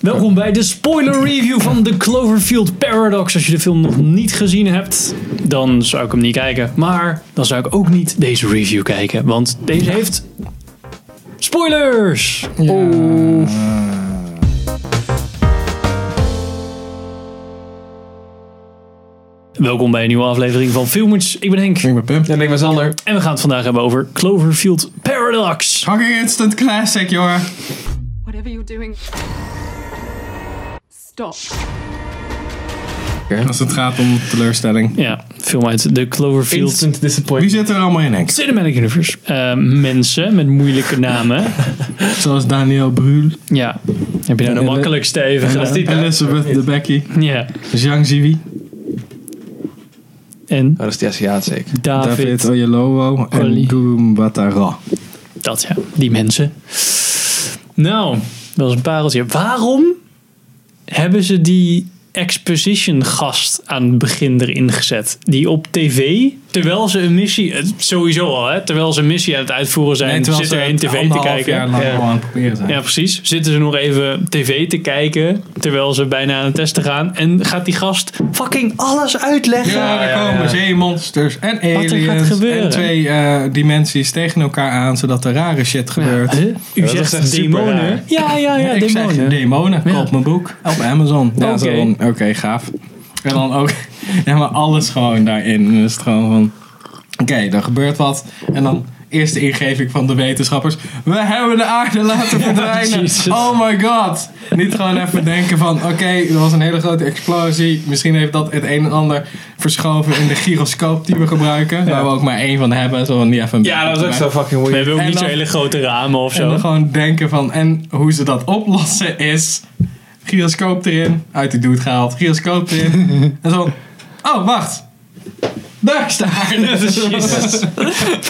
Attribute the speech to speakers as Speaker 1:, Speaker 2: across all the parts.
Speaker 1: Welkom bij de spoiler review van The Cloverfield Paradox. Als je de film nog niet gezien hebt, dan zou ik hem niet kijken. Maar dan zou ik ook niet deze review kijken, want deze heeft spoilers. Oh. Welkom bij een nieuwe aflevering van Filmers. Ik ben Henk
Speaker 2: Ik ben Pim.
Speaker 3: En ik ben Sander.
Speaker 1: en we gaan het vandaag hebben over Cloverfield Paradox.
Speaker 2: Fucking instant classic, jongen.
Speaker 4: Whatever you're doing, stop.
Speaker 2: Als het gaat om teleurstelling.
Speaker 1: Ja, film uit The Cloverfield
Speaker 3: Instant
Speaker 2: Wie
Speaker 3: disappointment.
Speaker 2: zit er allemaal in, Henk?
Speaker 1: Cinematic Universe. Eh, mensen met moeilijke namen.
Speaker 2: Zoals Daniel Brühl,
Speaker 1: ja. Heb je nou de
Speaker 2: En-
Speaker 1: makkelijkste even
Speaker 2: en
Speaker 1: gedaan?
Speaker 2: Elizabeth de Becky,
Speaker 1: Ja.
Speaker 2: Zhang Ziwi,
Speaker 1: En
Speaker 3: Oh, dat is die Aziat zeker.
Speaker 1: David.
Speaker 2: David Oyelowo en
Speaker 1: Oli.
Speaker 2: Gurum Watara.
Speaker 1: Dat ja, die mensen. Nou, dat is een pareltje. Waarom hebben ze die exposition gast aan het begin erin gezet? Die op tv, terwijl ze een missie... eh, Sowieso al, hè. Terwijl ze een missie aan het uitvoeren zijn, zit er één tv te kijken.
Speaker 2: ja.
Speaker 1: Ja.
Speaker 2: aan het proberen zijn.
Speaker 1: Ja, precies. Zitten ze nog even tv te kijken terwijl ze bijna aan het testen gaan. En gaat die gast fucking alles uitleggen.
Speaker 2: Ja, daar
Speaker 3: ja,
Speaker 2: komen
Speaker 3: ja.
Speaker 2: zeemonsters en
Speaker 1: gaat
Speaker 2: aliens en
Speaker 1: gebeuren.
Speaker 2: twee eh, dimensies tegen elkaar aan, zodat er rare shit gebeurt.
Speaker 1: Huh? U
Speaker 3: dat is echt
Speaker 1: zegt
Speaker 3: super
Speaker 1: demonen.
Speaker 3: raar.
Speaker 1: Ja, ja, ja,
Speaker 2: ik
Speaker 1: demonen.
Speaker 2: zeg demonen,
Speaker 1: Ja.
Speaker 2: koop mijn boek op Amazon. Ja,
Speaker 1: Oké.
Speaker 2: zo dan, oké, gaaf. En dan ook, ja, maar alles gewoon daarin. En dan is het gewoon van, oké, er gebeurt wat. En dan eerste ingeving van de wetenschappers. We hebben de aarde laten verdwijnen.
Speaker 1: Jezus.
Speaker 2: oh my god. Niet gewoon even denken van, oké, er was een hele grote explosie. Misschien heeft dat het een en ander verschoven in de gyroscoop die we gebruiken. Waar we ook maar één van hebben. Zo van, die even
Speaker 3: Ja, Nou, dat is ook zo fucking
Speaker 1: We
Speaker 3: weird.
Speaker 1: hebben ook
Speaker 2: En
Speaker 1: niet
Speaker 2: dan-
Speaker 1: zo'n hele grote ramen of
Speaker 2: en
Speaker 1: zo.
Speaker 2: dan gewoon denken van, en hoe ze dat oplossen is. Gyroscoop erin, uit de doet gehaald, gyroscoop erin. en zo, oh wacht. Daar is de aarde.
Speaker 1: Jezus.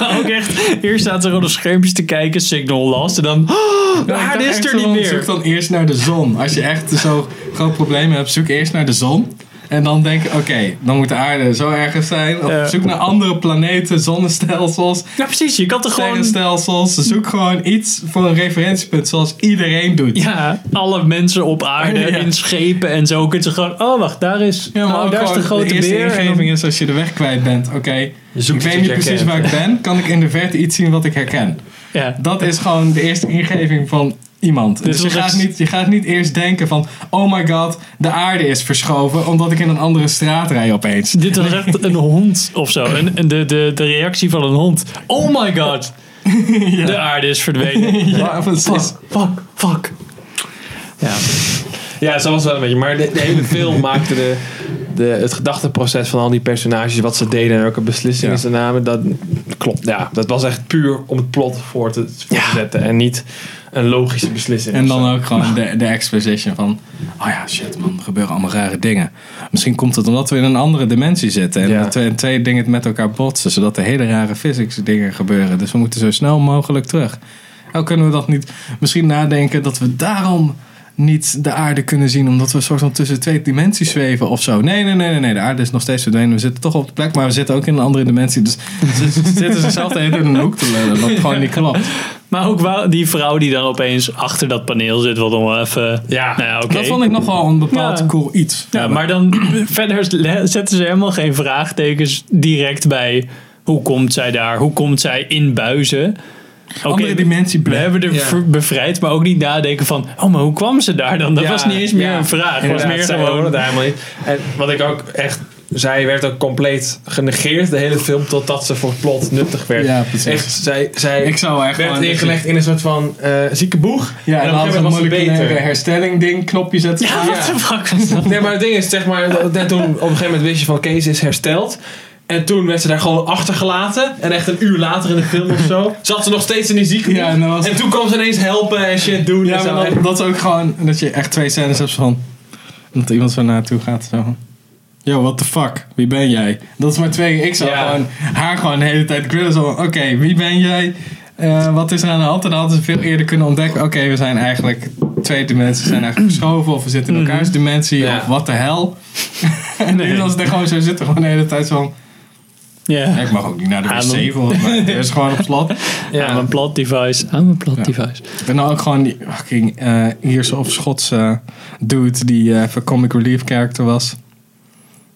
Speaker 1: maar ook echt, hier staat ze gewoon op schermpjes te kijken, signal last. En dan, oh, de
Speaker 2: Ja, ik
Speaker 1: aarde
Speaker 2: dacht
Speaker 1: is
Speaker 2: echt
Speaker 1: er
Speaker 2: zo
Speaker 1: niet
Speaker 2: van, Zoek
Speaker 1: meer.
Speaker 2: dan eerst naar de zon. Als je echt zo'n groot probleem hebt, zoek eerst naar de zon. En dan denk ik, oké, dan moet de aarde zo ergens zijn. Of
Speaker 1: Ja.
Speaker 2: zoek naar andere planeten, zonnestelsels,
Speaker 1: Ja, precies. Je kan toch gewoon...
Speaker 2: sterrenstelsels. Zoek gewoon iets voor een referentiepunt zoals iedereen doet.
Speaker 1: Ja, alle mensen op aarde
Speaker 2: Ja.
Speaker 1: in schepen en zo kunnen ze gewoon... Oh, wacht, daar is,
Speaker 2: Ja, maar
Speaker 1: oh,
Speaker 2: ook
Speaker 1: daar is de
Speaker 2: gewoon
Speaker 1: grote
Speaker 2: eerste
Speaker 1: beer. en dan-
Speaker 2: ingeving is als je de weg kwijt bent. Oké, ik
Speaker 3: zoekt
Speaker 2: weet
Speaker 3: iets
Speaker 2: niet
Speaker 3: wat je
Speaker 2: precies waar
Speaker 3: herkent.
Speaker 2: ik ben. Kan ik in de verte iets zien wat ik herken?
Speaker 1: Ja.
Speaker 2: Dat is gewoon de eerste ingeving van iemand. Dus, je,
Speaker 1: was
Speaker 2: gaat
Speaker 1: echt-
Speaker 2: niet, je gaat niet eerst denken van... Oh my god, de aarde is verschoven omdat ik in een andere straat rij opeens.
Speaker 1: Dit was echt een hond of zo. Een, een- de, de, de reactie van een hond. Oh my god. De aarde is verdwenen.
Speaker 2: Ja, precies.
Speaker 1: Fuck, fuck. Ja,
Speaker 3: Ja, zo was het wel een beetje. Maar de, de hele film maakte de, de, het gedachteproces van al die personages, wat ze deden en welke beslissingen
Speaker 2: Ja.
Speaker 3: ze namen, dat klopt. Ja, dat was echt puur om het plot voor te, voor te zetten en niet een logische beslissing.
Speaker 2: En
Speaker 3: of zo.
Speaker 2: dan ook gewoon de, de exposition van... Oh ja, shit man, er gebeuren allemaal rare dingen. Misschien komt het omdat we in een andere dimensie zitten. En
Speaker 3: Ja.
Speaker 2: dat twee, twee dingen met elkaar botsen. Zodat er hele rare physics dingen gebeuren. Dus we moeten zo snel mogelijk terug. Hoe kunnen we dat niet... Misschien nadenken dat we daarom niet de aarde kunnen zien. Omdat we soort van tussen twee dimensies zweven of zo. Nee, nee, nee, nee. nee. De aarde is nog steeds verdwenen. We zitten toch op de plek. Maar we zitten ook in een andere dimensie. Dus ze ze zitten zichzelf de hele tijd in een hoek te lullen. Wat gewoon niet klopt.
Speaker 1: Maar ook wel die vrouw die dan opeens achter dat paneel zit, wat dan wel even.
Speaker 3: Ja.
Speaker 1: nou ja oké.
Speaker 2: Dat vond ik nog wel een bepaald
Speaker 1: Ja.
Speaker 2: cool iets.
Speaker 1: ja, maar dan verder le- zetten ze helemaal geen vraagtekens direct bij hoe komt zij daar, hoe komt zij in buizen. Oké,
Speaker 2: Andere dimensie
Speaker 1: we hebben er
Speaker 3: Ja.
Speaker 1: ver- bevrijd, maar ook niet nadenken van, oh, maar hoe kwam ze daar dan? Dat
Speaker 3: Ja,
Speaker 1: was niet eens meer
Speaker 3: ja.
Speaker 1: een vraag. Het was
Speaker 3: Inderdaad,
Speaker 1: meer
Speaker 3: zij
Speaker 1: gewoon,
Speaker 3: hoorde het helemaal niet. En wat ik ook echt... Zij werd ook compleet genegeerd, de hele film, totdat ze voor het plot nuttig werd.
Speaker 2: Ja, precies.
Speaker 3: Echt, zij, zij
Speaker 2: Ik zou echt
Speaker 3: werd
Speaker 2: gewoon-
Speaker 3: ingelegd in een soort van eh, zieke boeg.
Speaker 2: Ja, en
Speaker 3: en op een
Speaker 2: dan
Speaker 3: gegeven
Speaker 2: een
Speaker 3: moment was het
Speaker 2: moleculaire
Speaker 3: beter.
Speaker 2: herstelling ding knopje zetten.
Speaker 1: ja,
Speaker 2: Ja.
Speaker 1: what the fuck was dat?
Speaker 3: Nee, maar het ding is, zeg maar, dat- net toen op een gegeven moment wist je van Kees is hersteld. En toen werd ze daar gewoon achtergelaten. En echt een uur later in de film of zo, zat ze nog steeds in die zieke
Speaker 2: Ja, en
Speaker 3: boeg.
Speaker 2: dan was-
Speaker 3: En toen kwam ze ineens helpen en shit doen.
Speaker 2: Ja,
Speaker 3: en zo.
Speaker 2: maar
Speaker 3: En-
Speaker 2: dat, dat is ook gewoon dat je echt twee scènes hebt van dat iemand zo naartoe gaat zo. van, Yo, what the fuck? Wie ben jij? Dat is maar twee. Ik zou
Speaker 3: Ja.
Speaker 2: gewoon haar gewoon de hele tijd grillen. Zo van, Oké, wie ben jij? Eh, wat is er aan de hand? En dan hadden ze veel eerder kunnen ontdekken. Oké, we zijn eigenlijk twee dimensies zijn eigenlijk geschoven. Of we zitten in elkaars dimensie.
Speaker 3: Ja.
Speaker 2: Of wat de hel. en nu
Speaker 1: Nee.
Speaker 2: als ze er gewoon zo zitten, gewoon de hele tijd zo van...
Speaker 1: Ja.
Speaker 2: Ja, ik mag ook niet naar de
Speaker 1: Adem.
Speaker 2: wc, volgens mij. Het is gewoon op slot. Ah,
Speaker 1: Ja, mijn plat device. Aan mijn plat device.
Speaker 2: Ik ben nou ook gewoon die fucking eh, Ierse of Schotse dude die eh, even comic relief character was.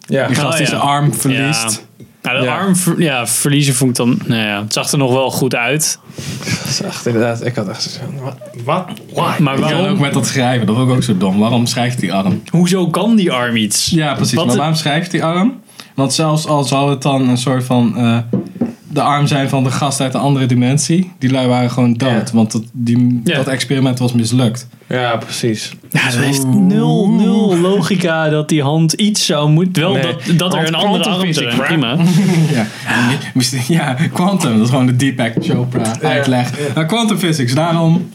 Speaker 3: Ja.
Speaker 2: Die gast die
Speaker 1: ja.
Speaker 2: zijn arm verliest.
Speaker 1: Nou, de
Speaker 2: Ja.
Speaker 1: arm ver- ja, verliezen vond ik dan... Nou ja, het zag er nog wel goed uit.
Speaker 3: Dat is echt inderdaad, ik had echt zo wat? Wat? Why?
Speaker 1: Maar
Speaker 2: Ik kan
Speaker 1: waarom,
Speaker 2: ook met dat schrijven, dat vond ik ook zo dom. Waarom schrijft die arm?
Speaker 1: hoezo kan die arm iets?
Speaker 2: Ja, precies.
Speaker 1: Wat
Speaker 2: maar
Speaker 1: het-
Speaker 2: waarom schrijft die arm? Want zelfs al zou het dan een soort van eh, de arm zijn van de gast uit een andere dimensie, die lui waren gewoon dood.
Speaker 3: Ja.
Speaker 2: Want dat, die,
Speaker 1: Ja.
Speaker 2: dat experiment was mislukt.
Speaker 3: Ja, precies.
Speaker 1: Ja, dat heeft nul, nul logica dat die hand iets zou moeten... Wel
Speaker 3: Nee,
Speaker 1: dat, dat er
Speaker 3: want
Speaker 1: een andere arm
Speaker 3: kwantumfysiek,
Speaker 1: zou zijn,
Speaker 3: crap.
Speaker 1: prima. Nou,
Speaker 2: Ja, Misschien- ja Quantum, dat is gewoon de Deepak Chopra uitleg. Nou, quantum physics, daarom.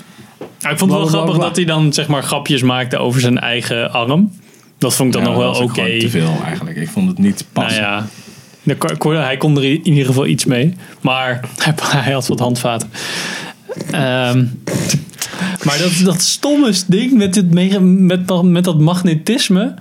Speaker 1: Ja, ik vond het wel
Speaker 2: Blablabla.
Speaker 1: grappig dat hij dan zeg maar grapjes maakte over zijn eigen arm. Dat vond ik dan
Speaker 2: Ja,
Speaker 1: nog
Speaker 2: dat
Speaker 1: wel
Speaker 2: was ook
Speaker 1: oké.
Speaker 2: gewoon Te veel eigenlijk. Ik vond het niet
Speaker 1: Nou
Speaker 2: passen.
Speaker 1: ja, de ko- ko- hij kon er in ieder geval iets mee. Maar hij, hij had wat handvaten. Ehm, maar dat, dat stomme ding met, dit mega- met, dat- met dat magnetisme,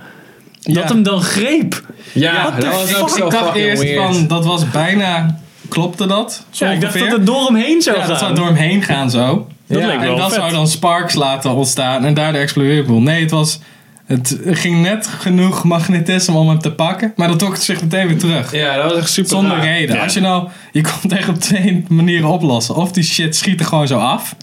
Speaker 1: dat hem dan greep.
Speaker 3: Ja,
Speaker 1: What the
Speaker 3: dat was ook
Speaker 1: fuck?
Speaker 3: zo
Speaker 2: Ik dacht
Speaker 3: fucking
Speaker 2: eerst
Speaker 3: weird.
Speaker 2: van, dat was bijna, klopte dat? Zo
Speaker 1: Ja, ik dacht
Speaker 2: ongeveer.
Speaker 1: dat het door hem heen zou
Speaker 2: ja, dat
Speaker 1: gaan.
Speaker 2: zou door hem heen gaan zo.
Speaker 1: Dat
Speaker 3: Ja,
Speaker 1: leek me
Speaker 2: en
Speaker 1: wel
Speaker 2: dat
Speaker 1: vet.
Speaker 2: zou dan sparks laten ontstaan en daardoor explodeerde de boel. Nee, het was... Het ging net genoeg magnetisme om hem te pakken, maar dat trok het zich meteen weer terug.
Speaker 3: Ja, dat was echt super
Speaker 2: Zonder
Speaker 3: raar.
Speaker 2: reden.
Speaker 1: Ja.
Speaker 2: Als je nou, je kon het echt op twee manieren oplossen. Of die shit schiet er gewoon zo af.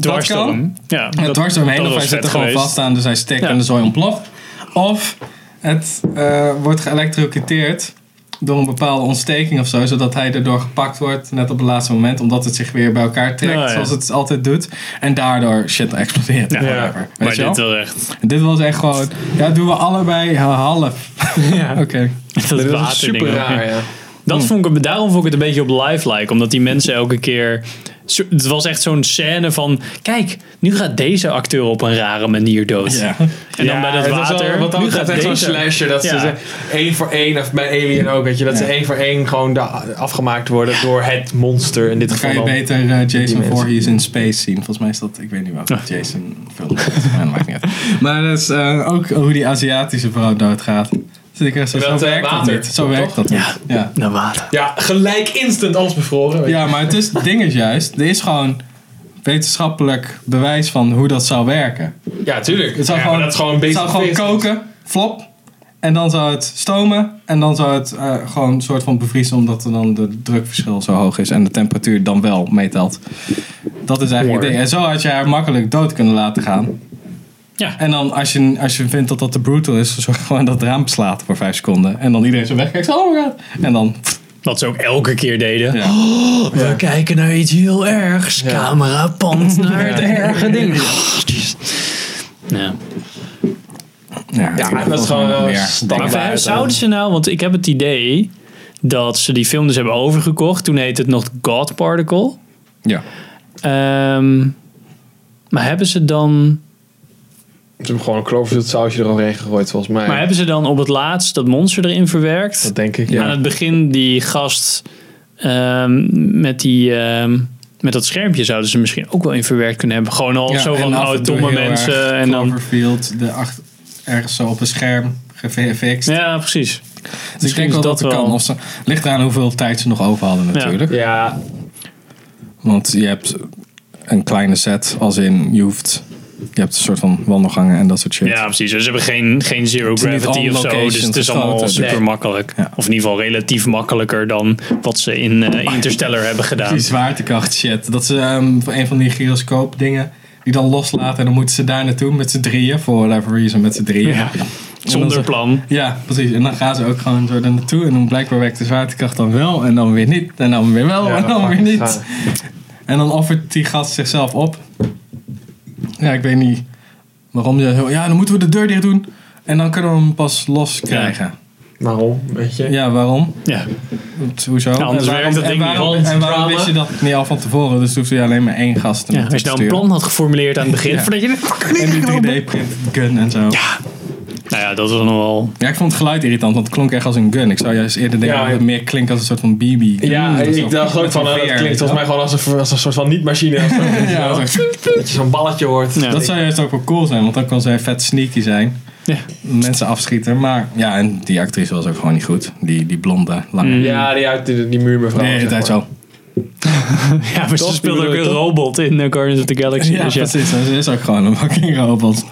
Speaker 1: dwars
Speaker 2: dat
Speaker 1: door
Speaker 2: kan.
Speaker 1: hem. Ja,
Speaker 2: Ja,
Speaker 1: dat-
Speaker 2: dwars door hem heen,
Speaker 1: dat
Speaker 2: of hij
Speaker 1: was
Speaker 2: zit er
Speaker 1: vet
Speaker 2: gewoon
Speaker 1: geweest.
Speaker 2: vast aan, dus hij stikt
Speaker 1: Ja.
Speaker 2: en de zooi ontploft. Of het eh, wordt geëlektrocuteerd door een bepaalde ontsteking of zo, zodat hij erdoor gepakt wordt, net op het laatste moment, omdat het zich weer bij elkaar trekt,
Speaker 1: Nou Ja, ja.
Speaker 2: zoals het altijd doet. En daardoor shit explodeert.
Speaker 1: Ja.
Speaker 2: Whatever. Weet
Speaker 1: Maar
Speaker 2: je wel?
Speaker 1: dit was echt...
Speaker 2: Dit was echt gewoon, ja, doen we allebei eh, half. Oké.
Speaker 1: Dat
Speaker 3: Dat was
Speaker 1: waterding
Speaker 3: super
Speaker 1: ook.
Speaker 3: raar, ja.
Speaker 1: Dat vond ik, daarom vond ik het een beetje op live like. Omdat die mensen elke keer. zo- Het was echt zo'n scène van. Kijk, nu gaat deze acteur op een rare manier dood.
Speaker 2: Ja.
Speaker 1: En dan bij dat
Speaker 3: het was wel-
Speaker 1: water.
Speaker 3: wat dan
Speaker 1: nu
Speaker 3: gaat
Speaker 1: gaat
Speaker 3: echt zo'n
Speaker 1: deze.
Speaker 3: slasher. Dat
Speaker 1: Ja.
Speaker 3: ze ze één voor één, of bij Alien ook, weet je. Dat
Speaker 2: Ja.
Speaker 3: ze één voor één gewoon da- afgemaakt worden door het monster. In dit
Speaker 2: Dan kan
Speaker 3: geval
Speaker 2: je
Speaker 3: dan.
Speaker 2: beter eh, Jason
Speaker 3: mensen.
Speaker 2: Voorhees in Space zien. Volgens mij is dat, ik weet niet welke Jason film het is, maar dat maakt niet uit. Maar dat is eh, ook hoe die Aziatische vrouw doodgaat. Zit ik er zo, zo
Speaker 3: Dat, eh,
Speaker 2: werkt dat
Speaker 3: water,
Speaker 2: niet. Zo werkt dat niet. Ja.
Speaker 1: Naar water.
Speaker 3: Ja, gelijk instant alles bevroren. weet je.
Speaker 2: ja, maar het is, het ding is juist, er is gewoon wetenschappelijk bewijs van hoe dat zou werken.
Speaker 3: Ja, tuurlijk.
Speaker 2: Het zou
Speaker 3: ja, maar
Speaker 2: gewoon,
Speaker 3: dat is gewoon
Speaker 2: het
Speaker 3: basic
Speaker 2: zou gewoon
Speaker 3: business.
Speaker 2: koken, flop. En dan zou het stomen. En dan zou het eh, gewoon een soort van bevriezen. Omdat er dan de drukverschil zo hoog is. En de temperatuur dan wel meetelt. Dat is eigenlijk het ding. En zo had je haar makkelijk dood kunnen laten gaan.
Speaker 1: Ja.
Speaker 2: En dan als je, als je vindt dat dat te brutal is. Zorg gewoon dat het raam slaat voor vijf seconden. En dan iedereen zo wegkijkt. Oh my god. En dan...
Speaker 1: Wat ze ook elke keer deden. Oh,
Speaker 2: Ja.
Speaker 1: We kijken naar iets heel ergs. Camera pand naar het erge ding. Ja.
Speaker 2: Ja, ik
Speaker 3: Ja,
Speaker 2: heb
Speaker 3: dat is gewoon
Speaker 2: nog
Speaker 3: eh,
Speaker 2: meer.
Speaker 3: standaard.
Speaker 1: Maar
Speaker 3: eh,
Speaker 1: zouden ze nou, want ik heb het idee dat ze die film dus hebben overgekocht. Toen heette het nog God Particle.
Speaker 2: Ja.
Speaker 1: Ehm, maar hebben ze dan.
Speaker 3: Ze hebben gewoon een Cloverfield sausje er overheen gegooid, volgens mij.
Speaker 1: Maar hebben ze dan op het laatst dat monster erin verwerkt?
Speaker 3: dat denk ik,
Speaker 1: Aan
Speaker 3: ja.
Speaker 1: het begin die gast ehm, met die. ehm, met dat schermpje zouden ze misschien ook wel in verwerkt kunnen hebben. Gewoon al
Speaker 2: Ja,
Speaker 1: zo van
Speaker 2: en af
Speaker 1: oh,
Speaker 2: en toe
Speaker 1: domme
Speaker 2: heel erg
Speaker 1: mensen. En dan,
Speaker 2: Cloverfield, de acht, ergens zo op een scherm gefixt.
Speaker 1: ja, precies.
Speaker 2: Dus ik
Speaker 1: Misschien
Speaker 2: denk wel
Speaker 1: is
Speaker 2: dat,
Speaker 1: dat
Speaker 2: het kan.
Speaker 1: wel.
Speaker 2: Of ze, ligt eraan hoeveel tijd ze nog over hadden natuurlijk.
Speaker 3: Ja,
Speaker 2: Want je hebt een kleine set, als in je hoeft... Je hebt een soort van wandelgangen en dat soort shit.
Speaker 1: Ja, precies. Dus ze hebben geen, geen zero
Speaker 2: zijn niet
Speaker 1: gravity
Speaker 2: allemaal
Speaker 1: of zo. Dus
Speaker 2: locations
Speaker 1: het is
Speaker 2: geschoten.
Speaker 1: allemaal super
Speaker 3: Nee.
Speaker 1: makkelijk.
Speaker 2: Ja.
Speaker 1: Of in ieder geval relatief makkelijker dan wat ze in eh, Interstellar hebben gedaan.
Speaker 2: Die zwaartekracht shit. Dat ze ehm, voor een van die gyroscoop dingen die dan loslaten. En dan moeten ze daar naartoe met z'n drieën. For whatever reason met z'n drieën.
Speaker 1: Ja.
Speaker 2: En
Speaker 1: Zonder
Speaker 2: dan ze-
Speaker 1: plan.
Speaker 2: Ja, precies. En dan gaan ze ook gewoon zo daar naartoe. En dan blijkbaar werkt de zwaartekracht dan wel. En dan weer niet. En dan weer wel.
Speaker 3: Ja,
Speaker 2: en dan weer
Speaker 3: fucking
Speaker 2: niet.
Speaker 3: gaaf.
Speaker 2: En dan offert die gast zichzelf op. Ja, ik weet niet waarom. je zo- Ja, dan moeten we de deur dicht doen. En dan kunnen we hem pas los krijgen.
Speaker 3: waarom, weet je?
Speaker 2: Ja, waarom?
Speaker 1: Ja.
Speaker 2: Want Hoezo?
Speaker 1: Ja, anders
Speaker 2: en
Speaker 1: werkt
Speaker 2: waarom,
Speaker 1: dat
Speaker 2: en
Speaker 1: ding niet.
Speaker 2: waarom,
Speaker 1: Al het
Speaker 2: En waarom
Speaker 3: drama.
Speaker 2: wist je dat niet al van tevoren? Dus toen hoefde je alleen maar één gast
Speaker 1: Ja, als je nou een plan had geformuleerd aan het begin.
Speaker 2: Ja.
Speaker 1: voordat je de-
Speaker 2: En die 3D-print gun en zo. Ja.
Speaker 1: Nou ja, dat was nog wel.
Speaker 2: ik vond het geluid irritant, want het klonk echt als een gun. Ik zou juist eerder denken
Speaker 3: Ja,
Speaker 2: dat het meer klinkt als een soort van BB.
Speaker 3: Ja,
Speaker 2: Mm, dat is
Speaker 3: ik
Speaker 2: wel-
Speaker 3: dacht ook van,
Speaker 2: met
Speaker 3: nou,
Speaker 2: een
Speaker 3: dat
Speaker 2: veer,
Speaker 3: klinkt volgens mij gewoon als een, als een soort van niet-machine. Als een-
Speaker 2: Ja, dat is-
Speaker 3: Dat je zo'n balletje hoort.
Speaker 1: Ja.
Speaker 2: Dat zou juist ook wel cool zijn, want dan kan zij vet sneaky zijn.
Speaker 1: Ja.
Speaker 2: mensen afschieten. Maar ja, en die actrice was ook gewoon niet goed. Die, die blonde, lange.
Speaker 1: Mm.
Speaker 3: Ja, die uit die, die muurmevrouw.
Speaker 2: de hele
Speaker 3: zeg
Speaker 2: tijd
Speaker 3: maar.
Speaker 2: zo.
Speaker 1: Ja, maar ze
Speaker 3: Toch?
Speaker 1: speelt ook een
Speaker 3: Toch?
Speaker 1: robot in eh, Guardians of the Galaxy.
Speaker 2: Ja,
Speaker 1: dus ja.
Speaker 2: precies. En Ze is ook gewoon een fucking robot.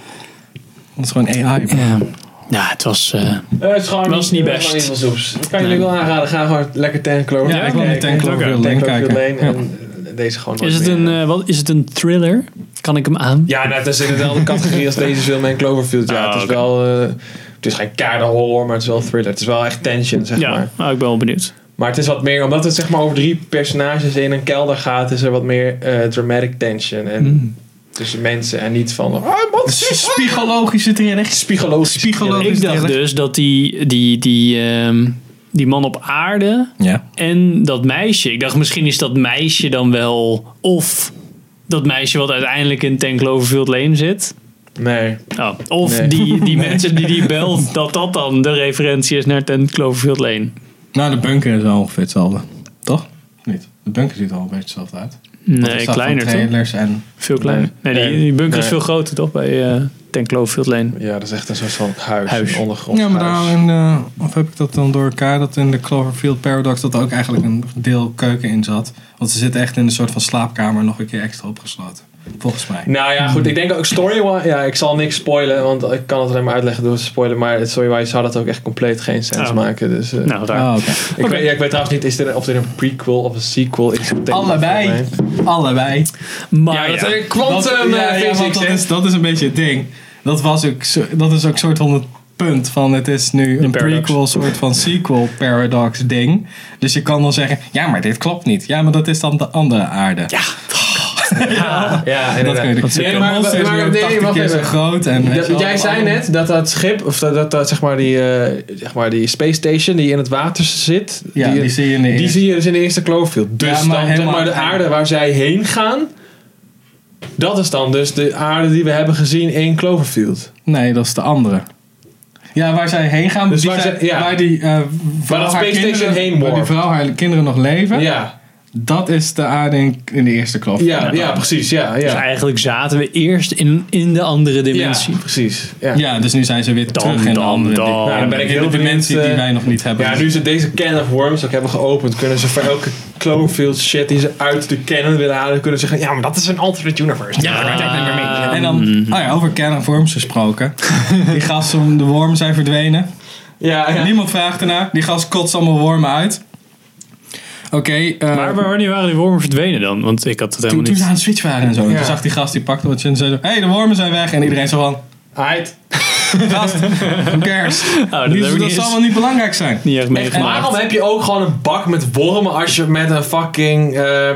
Speaker 2: Dat is gewoon AI. bro.
Speaker 1: Ja. Ja, het was... eh,
Speaker 3: Eh, het is gewoon
Speaker 1: Was niet
Speaker 3: eh,
Speaker 1: best.
Speaker 3: gewoon niet van soeps. Dat kan ik
Speaker 1: Nee.
Speaker 3: jullie wel aanraden. Ga gewoon lekker Ten Cloverfield
Speaker 2: Ja, ik wil met
Speaker 3: kijken.
Speaker 2: Ten Cloverfield
Speaker 3: Ten
Speaker 2: Lane
Speaker 3: Cloverfield
Speaker 2: kijken.
Speaker 3: Lane En eh, deze gewoon nooit
Speaker 1: is, het
Speaker 3: meer.
Speaker 1: een, eh, wat, is het een thriller? Kan ik hem aan?
Speaker 3: Ja, nou, het is in dezelfde categorie als deze film en Cloverfield. Ja,
Speaker 1: Ah,
Speaker 3: het is
Speaker 1: oké.
Speaker 3: wel... eh, het is geen keiharde horror, maar het is wel thriller. Het is wel echt tension, zeg maar.
Speaker 1: ah, ik ben wel benieuwd.
Speaker 3: Maar het is wat meer... Omdat het zeg maar over drie personages in een kelder gaat... is er wat meer eh, dramatic tension. En
Speaker 2: Mm.
Speaker 3: Tussen mensen en niet van... Ah,
Speaker 2: Het
Speaker 3: wat
Speaker 2: is Psychologische thriller.
Speaker 3: Psychologisch.
Speaker 2: Psychologisch.
Speaker 1: Ik dacht
Speaker 2: thriller.
Speaker 1: dus dat die, die, die, ehm, die man op aarde
Speaker 2: Ja.
Speaker 1: en dat meisje... Ik dacht, misschien is dat meisje dan wel... Of dat meisje wat uiteindelijk in Ten Cloverfield Lane zit.
Speaker 3: Nee.
Speaker 1: Oh, of
Speaker 3: Nee.
Speaker 1: die, die mensen die die belt, dat dat dan de referentie is naar Ten Cloverfield Lane.
Speaker 2: Nou, de bunker is wel ongeveer hetzelfde. Toch? Niet. De bunker ziet er al een beetje hetzelfde uit. Er
Speaker 1: Nee,
Speaker 2: staat van
Speaker 1: kleiner toch?
Speaker 2: trailers en
Speaker 1: Veel kleiner. Nee, die,
Speaker 3: Nee.
Speaker 1: die bunker is
Speaker 3: Nee.
Speaker 1: veel groter toch bij eh, Ten Cloverfield Lane.
Speaker 3: Ja, dat is echt een soort van huis.
Speaker 1: Huis.
Speaker 3: Een ondergrond.
Speaker 2: Ja, maar
Speaker 3: huis.
Speaker 2: daarin, eh, of heb ik dat dan door elkaar, dat in de Cloverfield Paradox dat er ook eigenlijk een deel keuken in zat. Want ze zitten echt in een soort van slaapkamer nog een keer extra opgesloten. Volgens mij.
Speaker 3: Nou ja, goed. Ik denk ook story-wise... Ja, ik zal niks spoilen, want ik kan het alleen maar uitleggen door te spoilen. Maar story-wise zou dat ook echt compleet geen sens
Speaker 1: Oh.
Speaker 3: maken. Dus, eh,
Speaker 1: Nou, daar.
Speaker 2: Ah, oké.
Speaker 3: Ik, weet, ja, ik weet trouwens niet is dit, een- of dit een prequel of een sequel is.
Speaker 2: Allebei. Allebei.
Speaker 1: Maar
Speaker 3: Ja, dat
Speaker 1: ja.
Speaker 3: is quantum
Speaker 2: ja,
Speaker 3: eh,
Speaker 2: ja, want
Speaker 3: physics.
Speaker 2: dat,
Speaker 3: hè.
Speaker 2: is, dat is een beetje het ding. Dat, was ook, zo- dat is ook soort van het punt van het is nu een
Speaker 1: paradox.
Speaker 2: prequel, soort van sequel paradox ding. Dus je kan wel zeggen, ja, maar dit klopt niet. Ja, maar dat is dan de andere aarde.
Speaker 1: Ja.
Speaker 3: Ja,
Speaker 2: En dat kun je
Speaker 3: inderdaad.
Speaker 2: nee,
Speaker 3: Nee, maar, maar, maar, nee, wacht
Speaker 2: keer zo
Speaker 3: even.
Speaker 2: groot. En, weet
Speaker 3: Dat-
Speaker 2: je wel,
Speaker 3: jij zei
Speaker 2: allemaal-
Speaker 3: net dat dat schip, of dat, dat, dat, zeg, maar die, eh, zeg maar die space station die in het water zit,
Speaker 2: Ja, die,
Speaker 3: die,
Speaker 2: zie je in de
Speaker 3: die
Speaker 2: eerste.
Speaker 3: zie je dus in de eerste Cloverfield. Dus
Speaker 2: Ja, maar
Speaker 3: dan zeg
Speaker 2: helemaal
Speaker 3: maar de
Speaker 2: aan het
Speaker 3: aarde
Speaker 2: einde.
Speaker 3: waar zij heen gaan, dat is dan dus de aarde die we hebben gezien in Cloverfield.
Speaker 2: Nee, dat is de andere. Ja, waar zij heen gaan.
Speaker 3: Dus
Speaker 2: die
Speaker 3: waar
Speaker 2: zij-
Speaker 3: ze- ja.
Speaker 2: waar die eh, vrouw
Speaker 3: dat
Speaker 2: haar
Speaker 3: Space
Speaker 2: kinderen-
Speaker 3: Station heen
Speaker 2: Waar die
Speaker 3: morft.
Speaker 2: vrouw haar kinderen nog leven.
Speaker 3: Ja,
Speaker 2: Dat is de aarde in, in de eerste kloof.
Speaker 3: ja, ja precies. Ja,
Speaker 1: Dus
Speaker 3: ja.
Speaker 1: eigenlijk zaten we eerst in, in de andere
Speaker 3: ja
Speaker 1: dimensie.
Speaker 3: precies. Ja.
Speaker 2: Ja, dus nu zijn ze weer
Speaker 1: Dan,
Speaker 2: terug in de
Speaker 1: dan,
Speaker 2: andere
Speaker 1: dan.
Speaker 2: di-
Speaker 1: Nou,
Speaker 3: dan ben ik
Speaker 2: in de
Speaker 3: heel
Speaker 2: dimensie
Speaker 3: benieuwd,
Speaker 2: die
Speaker 3: eh,
Speaker 2: wij nog niet hebben.
Speaker 3: Ja, nu ze deze can of worms ook hebben geopend, kunnen ze voor elke Cloverfield shit die ze uit de canon willen halen, kunnen ze zeggen, ja, maar dat is een alternate universe.
Speaker 1: Ja.
Speaker 2: en dan, oh ja, over Kern of Worms gesproken. Die gasten om de wormen zijn verdwenen.
Speaker 3: Ja, ja.
Speaker 2: Niemand vraagt ernaar. Die gast kotst allemaal wormen uit. Oké. eh,
Speaker 1: Maar waar- wanneer waren die wormen verdwenen dan? Want ik had het
Speaker 2: toen,
Speaker 1: helemaal
Speaker 2: toen ze
Speaker 1: niet.
Speaker 2: aan het switch waren en zo.
Speaker 3: Ja.
Speaker 2: Toen zag die gast die pakte wat en zei zo... Hé, hey, de wormen zijn weg. En iedereen zo van...
Speaker 3: Heid.
Speaker 2: Gast, who cares?
Speaker 1: Oh, dat
Speaker 2: Die-
Speaker 1: heb ik
Speaker 2: dat
Speaker 1: niet,
Speaker 2: zal
Speaker 1: eens-
Speaker 2: wel niet belangrijk zijn.
Speaker 1: niet echt
Speaker 3: En
Speaker 1: meegemaakt.
Speaker 3: waarom heb je ook gewoon een bak met wormen als je met een fucking eh,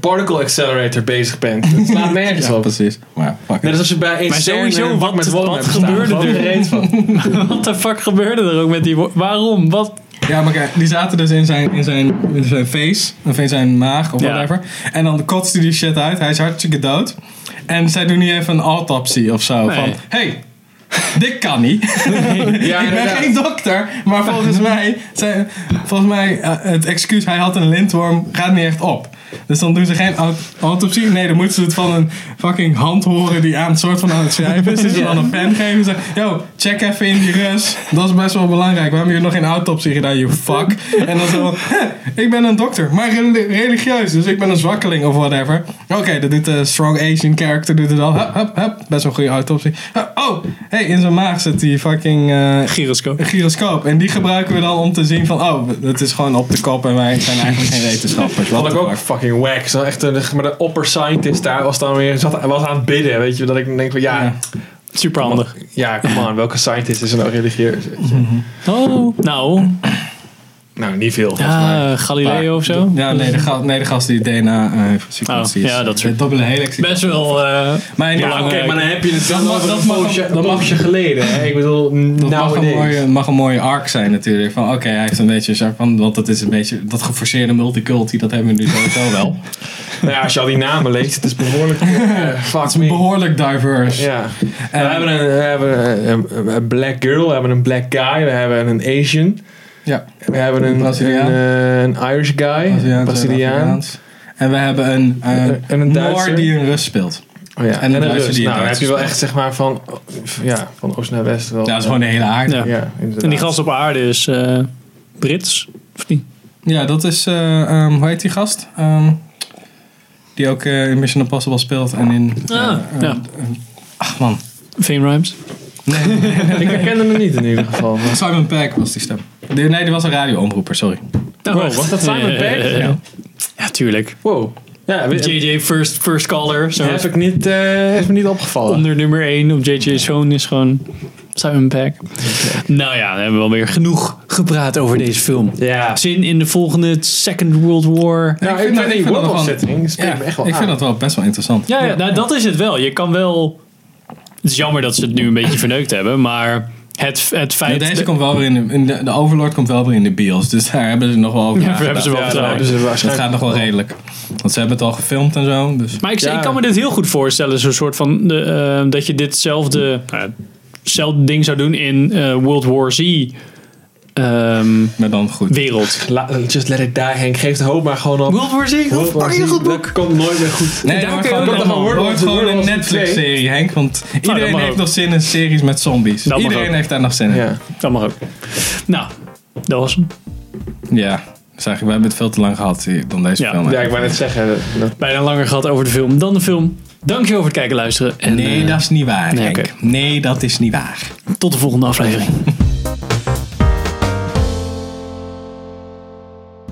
Speaker 3: particle accelerator bezig bent? Dat slaat nergens op.
Speaker 2: precies. Maar fuck
Speaker 3: Net
Speaker 2: it.
Speaker 3: als als je bij een
Speaker 1: sowieso,
Speaker 3: een bak
Speaker 1: wat-
Speaker 3: met wormen
Speaker 1: wat
Speaker 3: hebt staan.
Speaker 1: gebeurde
Speaker 3: Gewoon
Speaker 1: er?
Speaker 3: gereed van.
Speaker 1: Wat de fuck gebeurde er ook met die wo- Waarom? Wat?
Speaker 2: Ja, maar kijk, die zaten dus in zijn, in zijn, in zijn face, of in zijn maag of
Speaker 1: Ja.
Speaker 2: whatever. En dan kotst hij die shit uit. Hij is hartstikke dood. En zij doen niet even een autopsie of zo.
Speaker 1: Nee.
Speaker 2: Van, hey, dit kan niet.
Speaker 3: Ja,
Speaker 2: ik ben
Speaker 3: inderdaad.
Speaker 2: geen dokter. Maar volgens mij, zijn, volgens mij eh, het excuus, hij had een lintworm, gaat niet echt op. Dus dan doen ze geen aut- autopsie. Nee, dan moeten ze het van een fucking hand horen die aan het soort van aan het schrijven is. Dus ze dan een pen geven en zeggen, yo, check even in die rust. Dat is best wel belangrijk. Waarom heb je nog geen autopsie gedaan, you fuck? En dan zo van, "Hè, ik ben een dokter, maar reli- religieus. Dus ik ben een zwakkeling of whatever. Oké, dat doet de strong Asian character, doet het al. Hup, hup, hup. Best wel een goede autopsie. Hup, oh, hey, in zijn maag zit die fucking... eh,
Speaker 1: Gyroscoop.
Speaker 2: een gyroscoop. En die gebruiken we dan om te zien van, oh, het is gewoon op de kop en wij zijn eigenlijk geen wetenschappers. Wat
Speaker 3: Vond ik ook fucking wack. Zo echt een, maar de opper scientist daar was dan weer zat, was aan het bidden. Weet je, dat ik denk van ja,
Speaker 2: Ja.
Speaker 1: Super handig.
Speaker 3: ja, come on, welke scientist is er nou religieus?
Speaker 1: Oh, nou.
Speaker 3: Nou, niet veel.
Speaker 1: Ja, Galileo of zo.
Speaker 2: Ja, nee de, gast, nee, de gast die DNA eh, heeft
Speaker 1: Oh,
Speaker 2: gesequenceerd.
Speaker 1: ja, dat soort-
Speaker 2: De dubbele helix.
Speaker 1: Best wel. eh,
Speaker 2: Maar in
Speaker 1: Ja,
Speaker 2: ieder geval,
Speaker 3: Oké,
Speaker 1: Belangrijk.
Speaker 3: maar dan heb je het dan
Speaker 2: mag-
Speaker 3: over
Speaker 2: dat
Speaker 3: een
Speaker 2: mag-
Speaker 3: poosje,
Speaker 2: dat
Speaker 3: een
Speaker 2: mag-
Speaker 3: poosje geleden. hè? Ik bedoel,
Speaker 2: dat mag een, mooie,
Speaker 3: nowadays.
Speaker 2: mag een mooie arc zijn natuurlijk. Van oké, hij heeft een beetje een soort van, want dat is een beetje dat geforceerde multiculti, dat hebben we nu sowieso wel.
Speaker 3: Nou ja, als je al die namen leest, het is behoorlijk... eh,
Speaker 2: Het
Speaker 3: fuck
Speaker 2: is
Speaker 3: me.
Speaker 2: behoorlijk diverse.
Speaker 3: Ja.
Speaker 2: En-
Speaker 3: we hebben, een, we hebben een, een- een black girl, we hebben een black guy, we hebben een Asian,
Speaker 2: Ja.
Speaker 3: we hebben een,
Speaker 2: Braziliaan.
Speaker 3: een, eh, een Irish guy,
Speaker 2: Braziliaans,
Speaker 3: Braziliaan.
Speaker 2: Zuid-Afrikaans. En we hebben een, eh,
Speaker 3: En een Duitser.
Speaker 2: Noor die een Rus speelt.
Speaker 3: Oh ja,
Speaker 2: En
Speaker 3: en,
Speaker 2: de
Speaker 3: een
Speaker 2: Duitsers
Speaker 3: Rus.
Speaker 2: die in
Speaker 3: Nou, dan heb je wel
Speaker 2: Duitsers
Speaker 3: echt zeg maar van, ja, van oost naar west wel.
Speaker 2: Ja, dat is gewoon de hele aarde.
Speaker 1: Ja.
Speaker 2: Ja,
Speaker 3: Ja, inderdaad.
Speaker 1: En die gast op aarde is eh, Brits, of niet?
Speaker 2: dat is, eh, ehm, hoe heet die gast? Ehm, die ook eh, in Mission Impossible speelt en in...
Speaker 1: Ah,
Speaker 2: eh,
Speaker 1: ja.
Speaker 2: eh, ach man,
Speaker 1: Fame Rhymes.
Speaker 3: Ik herkende hem niet in ieder geval. maar-
Speaker 2: eh, Simon Peck was die stem. Die- nee, die was een radioomroeper, sorry.
Speaker 3: Wow, was Oh, dat Simon Peck?
Speaker 1: Eh, Ja. tuurlijk.
Speaker 3: Wow. Ja, we-
Speaker 1: JJ First, first Caller. Zo.
Speaker 3: heb ik niet, eh, is me niet opgevallen.
Speaker 1: Onder nummer 1 op JJ's Zoon is gewoon Simon Peck. Nou ja, we hebben wel weer genoeg gepraat over deze film.
Speaker 3: Ja.
Speaker 1: Zin in de volgende Second World War.
Speaker 3: Nou,
Speaker 2: vind
Speaker 3: ik vind,
Speaker 2: dat- ik
Speaker 3: die
Speaker 2: vind dat
Speaker 3: world
Speaker 2: wel-
Speaker 3: setting spreekt me echt wel
Speaker 2: ik
Speaker 3: aan.
Speaker 2: vind dat wel best wel interessant.
Speaker 1: Ja, ja, nou, dat is het wel. Je kan wel. Het is jammer dat ze het nu een beetje verneukt hebben, maar het, het
Speaker 2: Ja,
Speaker 1: feit.
Speaker 2: deze komt wel weer in de, in de, de Overlord komt wel weer in de bios, dus daar hebben ze nog wel over.
Speaker 1: Ja,
Speaker 2: nagedaan.
Speaker 1: hebben ze wel
Speaker 3: Ja,
Speaker 1: gedaan.
Speaker 3: daar hebben ze
Speaker 2: Dat
Speaker 3: waarschijnlijk-
Speaker 2: gaat nog wel redelijk. Want ze hebben het al gefilmd en zo. Dus.
Speaker 1: Maar ik,
Speaker 3: Ja.
Speaker 1: ik kan me dit heel goed voorstellen, zo'n soort van de, eh, dat je ditzelfde nou ja, hetzelfde ding zou doen in eh, World War Z ehm,
Speaker 2: Maar dan goed.
Speaker 1: wereld.
Speaker 3: La- just let it die, Henk. Geef de hoop maar gewoon op.
Speaker 1: World War Z,
Speaker 3: World War Z, Dat komt nooit meer goed.
Speaker 2: Nee,
Speaker 1: Daar
Speaker 2: dat wordt
Speaker 1: kun je
Speaker 2: gewoon,
Speaker 1: ook nog
Speaker 2: dat
Speaker 1: wel
Speaker 2: wordt
Speaker 3: worden,
Speaker 2: gewoon
Speaker 3: worden
Speaker 2: een
Speaker 3: als een
Speaker 2: Netflix-serie, Henk. Want
Speaker 1: Nou, dat
Speaker 2: iedereen
Speaker 1: mag
Speaker 2: heeft
Speaker 1: ook.
Speaker 2: nog zin in series met zombies.
Speaker 1: Dat mag
Speaker 2: iedereen
Speaker 1: ook.
Speaker 2: heeft daar nog zin in. Ja.
Speaker 3: Ja.
Speaker 1: Dat mag ook. Nou, dat was hem.
Speaker 2: Dus eigenlijk, we hebben het veel te lang gehad hier, dan deze
Speaker 1: Ja.
Speaker 2: film.
Speaker 3: ja, ik wou net zeggen. dat- dat-
Speaker 1: Bijna langer gehad over de film dan de film. Dankjewel voor het kijken en luisteren. En
Speaker 2: Nee,
Speaker 1: eh,
Speaker 2: dat is niet waar,
Speaker 1: nee,
Speaker 2: Henk.
Speaker 1: oké.
Speaker 2: Nee, dat is niet waar.
Speaker 1: tot de volgende aflevering.